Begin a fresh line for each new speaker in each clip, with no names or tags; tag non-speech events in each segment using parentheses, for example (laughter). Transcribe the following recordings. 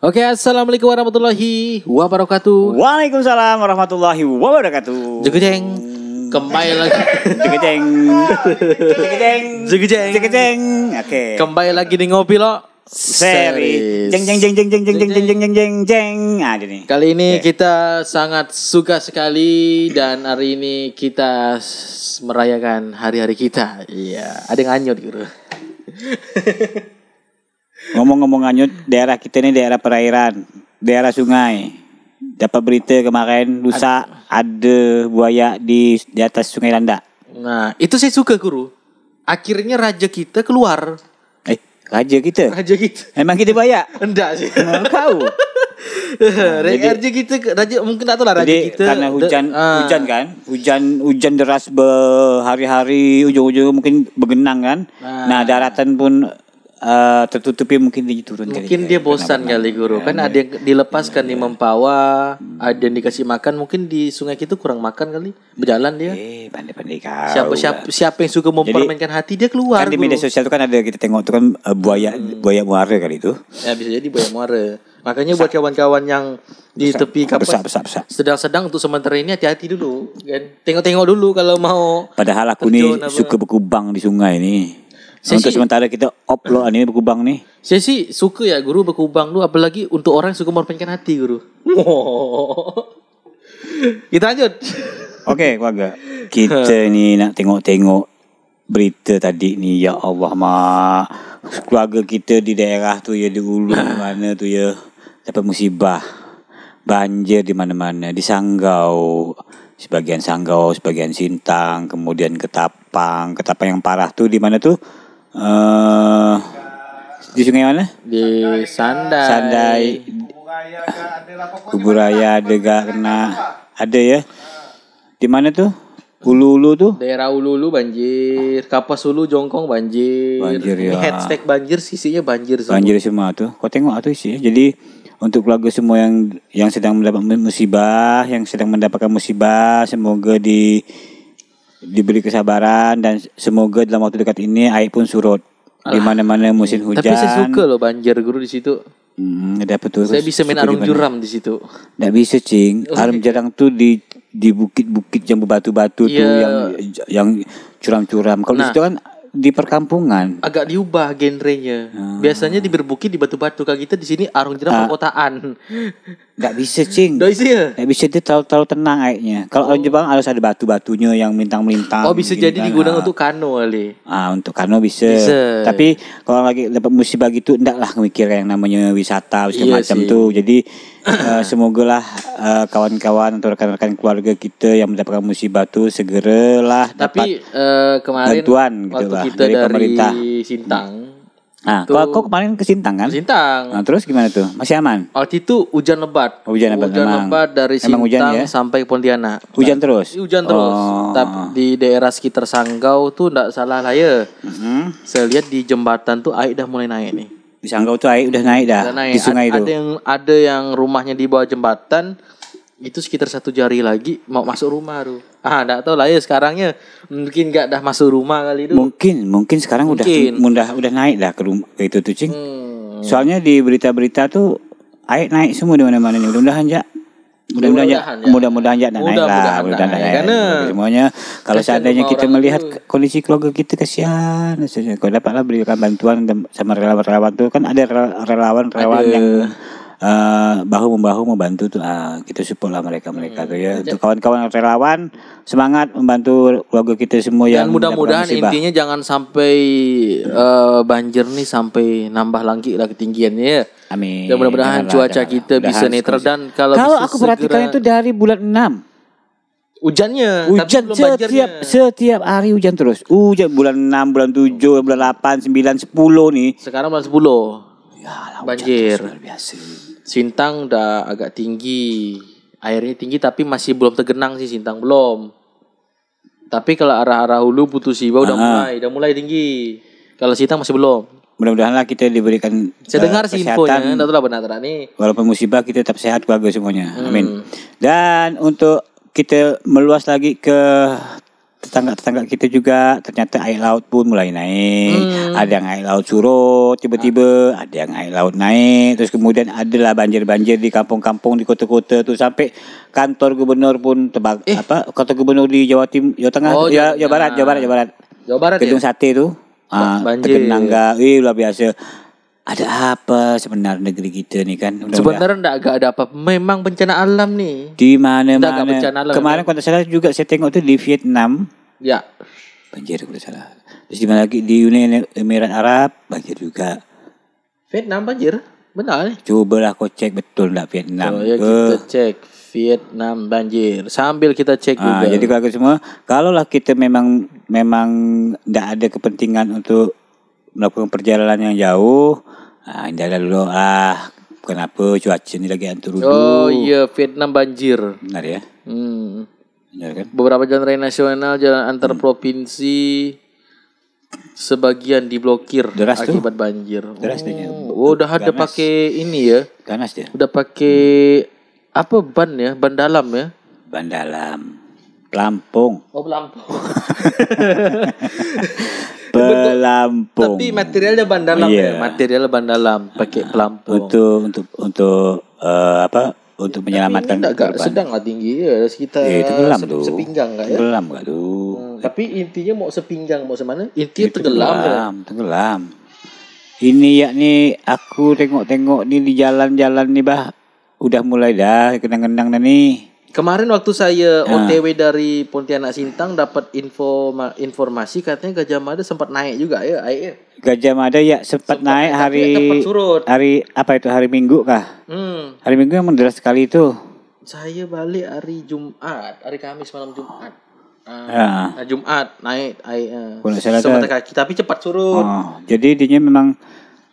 Oke, assalamualaikum warahmatullahi wabarakatuh.
Waalaikumsalam warahmatullahi wabarakatuh.
Jegejeng, kembali
(laughs)
lagi,
Jegejeng. Jegejeng.
Jegejeng.
Jegejeng. Oke.
kembali lagi di ngopi lo.
Seri. Jeng jeng jeng jeng jeng jeng jeng jeng jeng jeng jeng jeng. Ah, Nah, jadi.
Kali ini
Oke.
kita sangat suka sekali dan hari ini kita s- merayakan hari-hari kita. Iya, ada yang anyut gitu.
Ngomong-ngomong anyut, daerah kita ini daerah perairan, daerah sungai. Dapat berita kemarin lusa ada buaya di di atas Sungai Landa.
Nah, itu saya suka guru. Akhirnya raja kita keluar.
Eh, raja kita.
Raja kita.
Emang kita buaya?
Enggak sih.
Oh,
(laughs)
Kau.
raja kita, raja mungkin tak tahu lah raja
Jadi
kita.
karena hujan
Ah.
hujan kan, hujan hujan deras berhari-hari ujung-ujung mungkin bergenang kan.
Nah.
Nah, daratan pun eh, tertutupi mungkin dia turun kali
Mungkin
ya.
dia bosan kali guru
Iya,
kan ada yang dilepaskan di Mempawa, ada yang dikasih makan mungkin di Sungai Kitu kurang makan kali berjalan dia.
Eh, pandai-pandai kau.
Siapa siapa siapa yang suka mempermainkan hati dia keluar.
Kan di
guru.
media sosial itu kan ada kita tengok itu kan eh, buaya
Hmm.
buaya muara kali itu.
Ya bisa jadi buaya muara. Makanya buat kawan-kawan yang di tepi kapal
Besar besar besar.
sedang-sedang untuk sementara ini hati-hati dulu kan. Tengok-tengok dulu kalau mau
Padahal aku ni
Terjun apa?
suka berkubang di sungai ni.
Saya
Untuk
sih-
sementara kita upload ni berkubang ni.
saya sih suka ya guru berkubang dulu apalagi untuk orang yang suka mempermainkan hati guru. Kita lanjut.
Okey keluarga. Kita ni nak tengok-tengok berita tadi ni ya Allah mak. Keluarga kita di daerah tu ya di ulu mana tu ya dapat musibah. Banjir di mana-mana, di Sanggau, sebagian Sanggau, sebagian Sintang, kemudian Ketapang. Ketapang yang parah tu di mana tu? Eh di sungai mana?
di Sandai.
Sandai Kubur Raya ada gak kena Ada ya Di mana tuh? Ulu-ulu tuh
Daerah Ululu banjir, Kapas Ulu Jongkong banjir.
Banjir,
Ini
ya.
hashtag banjir sisinya banjir semua.
Banjir semua tuh Kau tengok tuh sih Jadi untuk keluarga semua yang yang sedang mendapat musibah, yang sedang mendapatkan musibah, semoga di diberi kesabaran dan semoga dalam waktu dekat ini air pun surut. Di mana-mana musim hujan.
Tapi saya suka loh banjir guru di situ.
Hmm, ada apa tuh?
Saya bisa main
Suka di
arung
mana?
jeram di situ.
Nggak bisa cing Alam jarang tuh di di bukit-bukit yang berbatu-batu tuh
Iya. Nah.
yang yang curam-curam. Kalau di situ kan di perkampungan.
Agak diubah genrenya.
Ah.
Biasanya di berbukit di batu-batu kalau kita di sini arung jeram perkotaan. (laughs)
Nggak bisa cing.
Doi sih ya?
Nggak bisa itu terlalu, terlalu tenang airnya. Kalau orang Jepang harus ada batu-batunya yang melintang-melintang.
Oh bisa
gini
jadi
kan.
digunakan untuk kano kali.
Ah untuk kano bisa.
Bisa.
Tapi kalau lagi dapat musibah gitu ndaklah mikir yang namanya wisata
Iya
segala macam
sih.
tuh.
(coughs)
Jadi eh, semogalah eh, kawan-kawan atau rekan-rekan keluarga kita yang mendapatkan musibah tuh segeralah dapat
Tapi eh, kemarin
bantuan gitu
waktu
lah
kita
dari
dari,
pemerintah.
Sintang,
Nah,
Tuh.
kok kok kemarin ke Sintang kan?
Sintang
Nah, terus gimana tuh? Masih aman?
Waktu itu hujan lebat.
Oh, hujan lebat, memang.
lebat dari
Memang hujan,
Sintang
ya?
sampai Pontianak.
Hujan
Nah,
terus?
iya, Hujan terus.
Oh.
Tapi di daerah sekitar Sanggau tuh enggak salah lah ya.
Mm-hmm.
Saya lihat di jembatan tuh air udah mulai naik nih.
Di Sanggau tuh air udah naik dah
Udah naik.
di sungai
Ad-
itu.
Ada yang ada yang rumahnya di bawah jembatan itu sekitar satu jari lagi mau masuk rumah tuh. Ah, enggak tahu lah ya sekarangnya mungkin enggak dah masuk rumah kali itu.
Mungkin mungkin sekarang
Mungkin.
udah udah udah naik dah ke rumah ke itu tuh cing.
Hmm.
Soalnya di berita-berita tuh air naik semua di mana-mana nih. Mudah-mudahan ya. Mudah-mudahan ya.
Mudah-mudahan, ya.
Mudah-mudahan ya dah naik lah.
Mudah-mudahan
Mudah-mudahan
naik.
naik.
Karena
semuanya kalau
kasihan
seandainya
rumah
kita
orang
melihat
itu.
kondisi keluarga kita kasihan. rasanya. Kalau dapatlah berikan bantuan dan- sama relawan-relawan tuh kan ada rela- relawan-relawan
Ada.
yang eh, bahu membahu membantu tuh ah, kita support lah mereka mereka
Hmm.
tuh ya untuk kawan-kawan relawan semangat membantu keluarga kita semua yang
Dan mudah-mudahan
mendapatkan musibah.
intinya jangan sampai eh, banjir nih sampai nambah lagi lah ketinggiannya ya.
Amin.
Dan mudah-mudahan
Janganlah,
cuaca
janganlah.
kita bisa
Mudahan
netral dan kalau,
Kalau,
bisa
aku perhatikan
segera-
itu dari bulan 6
hujannya,
Hujan
belum banjirnya.
setiap setiap hari hujan terus. Hujan bulan 6, bulan 7, bulan 8, 9, 10 nih.
Sekarang bulan 10
Ya lah,
banjir.
luar biasa.
Sintang udah agak tinggi. Airnya tinggi tapi masih belum tergenang sih Sintang belum. Tapi kalau arah-arah hulu Putus Siba udah mulai, udah mulai tinggi. Kalau Sintang masih belum.
Mudah-mudahanlah lah kita diberikan
Saya
eh,
dengar sih infonya, enggak tahu lah benar tak nih.
Walaupun musibah kita tetap sehat
Hmm.
keluarga semuanya. Amin. Dan untuk kita meluas lagi ke tetangga-tetangga kita juga ternyata air laut pun mulai naik.
Hmm.
Ada yang air laut surut tiba-tiba, ada yang air laut naik. Terus kemudian adalah banjir-banjir di kampung-kampung di kota-kota tuh sampai kantor gubernur pun terbang apa kantor gubernur di Jawa Tim Jawa Tengah
Eh. Oh,
ya,
Jawa
Jawa Barat Jawa Barat Jawa Barat.
Jawa Barat ya?
Gedung sate tuh ah,
banjir.
tergenang ga- Ih luar biasa. Ada apa sebenarnya negeri kita nih kan? Mudah-mudahan
Sebenarnya enggak agak ada apa. Memang bencana alam nih.
di
Kita agak
mana-mana.
bencana lah
Kemarin kalau tak salah juga saya tengok tuh di Vietnam
Ya.
banjir kalau tak salah. Terus di mana lagi di Uni Emirat Arab banjir juga.
Vietnam banjir. Benar nih.
Cubalah kau cek betul tak
Oh,
Vietnam.
ya
ke.
kita cek Vietnam banjir. Sambil kita cek juga.
Ah, jadi kalau kita semua, kalaulah kita memang memang tidak ada kepentingan untuk melakukan perjalanan yang jauh, ah, hindarilah dulu ah. Kenapa cuaca ni lagi antur
Oh iya Vietnam banjir.
Benar ya.
Hmm.
Benar kan?
Beberapa jalan raya nasional, jalan antar provinsi sebagian diblokir
Deras tuh.
akibat banjir.
Deras iya. dia.
Oh, udah ada
Ganas.
pakai ini ya.
Ganas dia.
Udah pakai apa ban ya? Ban dalam ya.
Ban dalam. Pelampung.
Oh,
(laughs)
pelampung.
Pelampung.
Tapi materialnya ban dalam
Iya. Oh,
ya. Materialnya ban dalam, pakai pelampung.
untuk untuk untuk eh, apa? Untuk menyelamatkan
Ini agak
korban.
Kan sedang lah tinggi ya, sekitar
Eh, tenggelam
se-
tu.
sepinggang enggak ya?
Tenggelam enggak tuh?
Hmm, Tapi intinya mau sepinggang mau semana? Intinya tenggelam. ya.
Tenggelam, tenggelam. Ini yakni aku tengok-tengok ni di jalan-jalan ni bah udah mulai dah kenang-kenang dah ni.
Kemarin waktu saya
Ah.
OTW dari Pontianak Sintang dapat info ma- informasi katanya Gajah Mada sempat naik juga ya airnya.
Gajah Mada ya sempat, naik
tapi
hari
tempat surut.
hari apa itu hari Minggu kah?
Hmm,
Hari Minggu yang deras sekali itu.
saya balik hari Jumat, hari Kamis malam Jumat. Ah,
Ya.
ah, Jumat naik air.
Kalau saya
Semata kaki tapi cepat surut.
Oh, jadi dia memang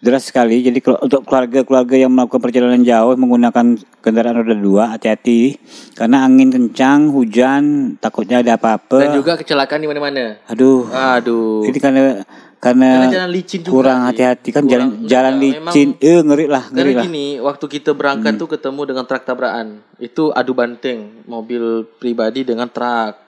deras sekali. Jadi kalau untuk keluarga-keluarga yang melakukan perjalanan jauh menggunakan kendaraan roda dua hati-hati karena angin kencang, hujan, takutnya ada
Dan
apa-apa.
juga kecelakaan di mana-mana.
Aduh.
Aduh.
Ini karena karena
Karena jalan licin juga
eh, kurang
sih.
hati-hati kan jalan
Kurang- Iya,
jalan
enggak,
licin. Eh ngeri lah, ngeri
Karena
lah.
gini, waktu kita berangkat
Hmm.
tuh ketemu dengan truk tabrakan. Itu adu banteng, mobil pribadi dengan truk.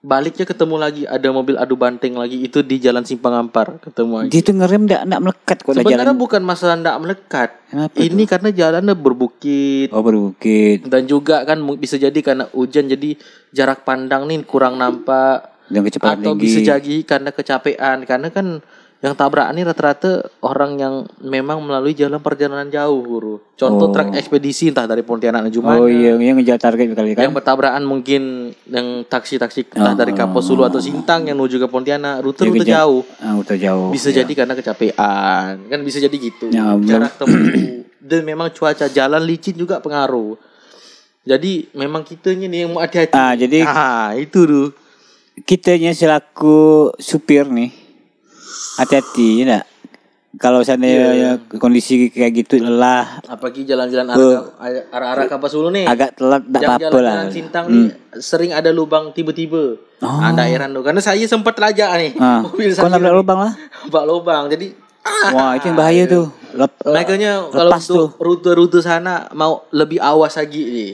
Baliknya ketemu lagi ada mobil adu banteng lagi itu di Jalan Simpang Ampar ketemu lagi.
Dia tuh ngerem enggak enggak melekat kok dah jalan.
Sebenarnya bukan masalah tidak melekat.
Kenapa
Ini karena jalannya berbukit
Oh berbukit
dan juga kan mu- bisa jadi karena hujan jadi jarak pandang nih kurang nampak
dan kecepatan
atau bisa
tinggi.
jadi karena kecapean karena kan yang tabrakan ini rata-rata orang yang memang melalui jalan perjalanan jauh guru contoh
Oh.
trek ekspedisi entah dari Pontianak menuju mana
Oh iya, yang ngejar target kali kan.
yang bertabrakan mungkin yang taksi-taksi entah
Ah.
dari Kampus Sulu atau Sintang yang menuju ke Pontianak rute-rute
kejar-
jauh
Ah, udah jauh.
bisa jadi karena kecapean kan bisa jadi gitu
Ya, bener.
jarak tempuh dan memang cuaca jalan licin juga pengaruh jadi memang kitanya nih yang mau hati-hati
Ah, jadi-
ah itu tuh
kitanya selaku supir nih hati-hati ya enggak? kalau seandainya kondisi kayak gitu lelah
apalagi jalan-jalan arah arah-arah kapas dulu nih
agak telat enggak
yang
apa-apa lah
jalan-jalan Sintang nih sering ada lubang tiba-tiba
Oh.
ah ndak heran tuh karena saya sempat telajak nih
ah
(laughs) mobil
kau
saya
nabrak lubang lah
bak lubang jadi ah
wah itu yang bahaya tuh Lep-
makanya kalau
Oh, lepas
untuk rute-rute sana mau lebih awas lagi nih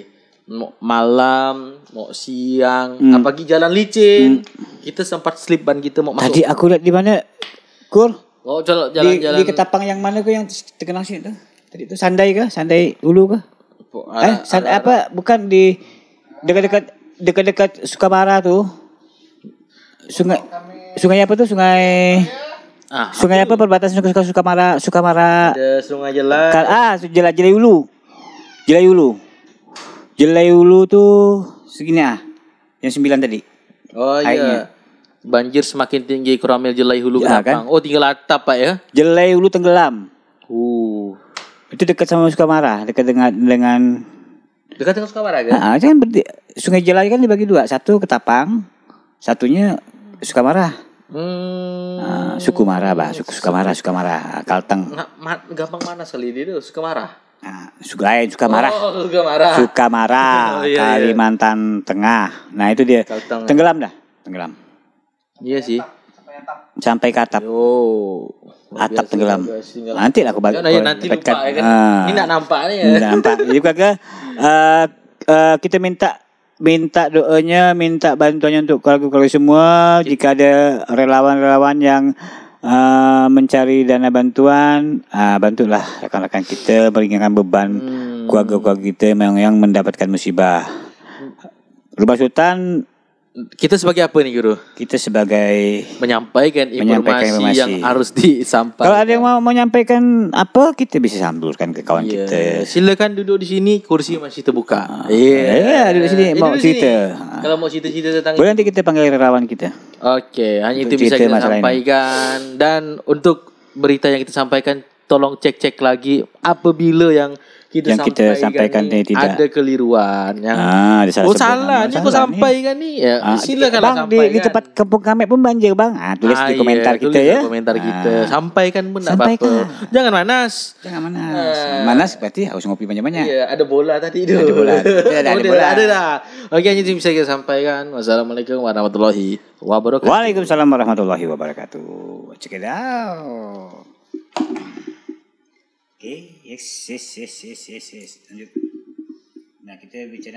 mau malam mau siang
Hmm.
apalagi jalan licin kita sempat slip ban kita mau masuk
tadi aku lihat di mana kur
oh jalan
di,
jalan
di ketapang yang mana kok yang terkenal sih itu tadi itu sandai kah sandai ulu kah
Ah,
eh san- apa bukan di dekat-dekat dekat-dekat Sukabara tuh sungai sungai apa tuh sungai
ah
Sungai apa perbatasan Suka Sukamara Sukamara
ada sungai jelas
Kal ah Jelai Jelai Ulu. Jelai Ulu. Jelai Ulu tuh segini ah. Yang sembilan tadi.
Oh
Airnya.
iya. Banjir semakin tinggi Kuramil Jelai Hulu
Ya,
Ketapang. Oh tinggal atap Pak ya.
Jelai Ulu tenggelam.
Uh.
Itu dekat sama Sukamara, dekat dengan dengan
Dekat dengan Sukabara kan?
Ah, ah, itu kan berarti- Sungai Jelai kan dibagi dua, satu Ketapang, satunya Sukamara.
Hmm.
Ah, Sukumara, bah, Suku Sukamara, Sukamara, ah, Kalteng.
Nggak, ma- gampang panas kali ini tuh Sukamara.
Ah, Sugai, Sukamara.
Oh Sukamara.
Sukamara,
(laughs) Oh, iya, iya.
Kalimantan Tengah. Nah, itu dia.
Kalteng.
Tenggelam dah. Tenggelam.
Iya sih.
sampai ke atap
Yo. luar biasa,
atap tenggelam
luar biasa. Nggak-
nanti lah aku bagi
Ya, nah, ya, nanti lupa ya kan. Ini
Ah,
nggak nampak nih ya.
nggak nampak jadi kakak eh, eh, kita minta minta doanya, minta bantuannya untuk keluarga-keluarga semua. Jika ada relawan-relawan yang uh, mencari dana bantuan, uh, bantulah rekan-rekan kita meringankan beban
Hmm.
keluarga-keluarga kita yang, yang mendapatkan musibah. Rumah Sultan
Kita sebagai apa nih guru?
kita sebagai
Menyampaikan informasi,
Menyampaikan informasi.
yang harus disampaikan.
kalau ada yang mau menyampaikan apa kita bisa sambungkan ke kawan
Iya.
kita.
Silakan duduk di sini, kursi masih terbuka.
Iya, duduk sini,
Ah. Eh,
mau
duduk sini.
cerita.
Kalau mau cerita-cerita tentang
Boleh nanti kita panggil relawan kita.
Oke, hanya itu
Untuk
bisa kita
cerita masalah ini.
sampaikan dan untuk berita yang kita sampaikan tolong cek-cek lagi apabila yang kita
Yang kita sampaikan
ini
ini tidak.
ada keliruan yang
Ah, ada salah
oh
sebut
salah
nama,
nih kok
salah nih.
sampaikan nih ya
Ah,
silakan
bang, di,
sampaikan
di tempat kampung kami pun banjir bang. Ah, tulis
kan? Ah,
di
iya,
komentar
tulis
kita
di
ya.
komentar kita
Ah,
sampaikan pun tidak apa-apa
Sampaikan.
jangan manas
jangan manas.
Ah.
Manas berarti harus ngopi banyak-banyak.
Iya, ada bola tadi itu.
Ada
(laughs)
bola. Ada, ada,
ada,
ada bola.
ada dah. Oke, hanya itu yang bisa kita sampaikan. Wassalamualaikum warahmatullahi wabarakatuh.
Waalaikumsalam warahmatullahi wabarakatuh. Check it out. Oke, yes, yes, yes, yes, yes, yes. Lanjut. Nah, kita bicara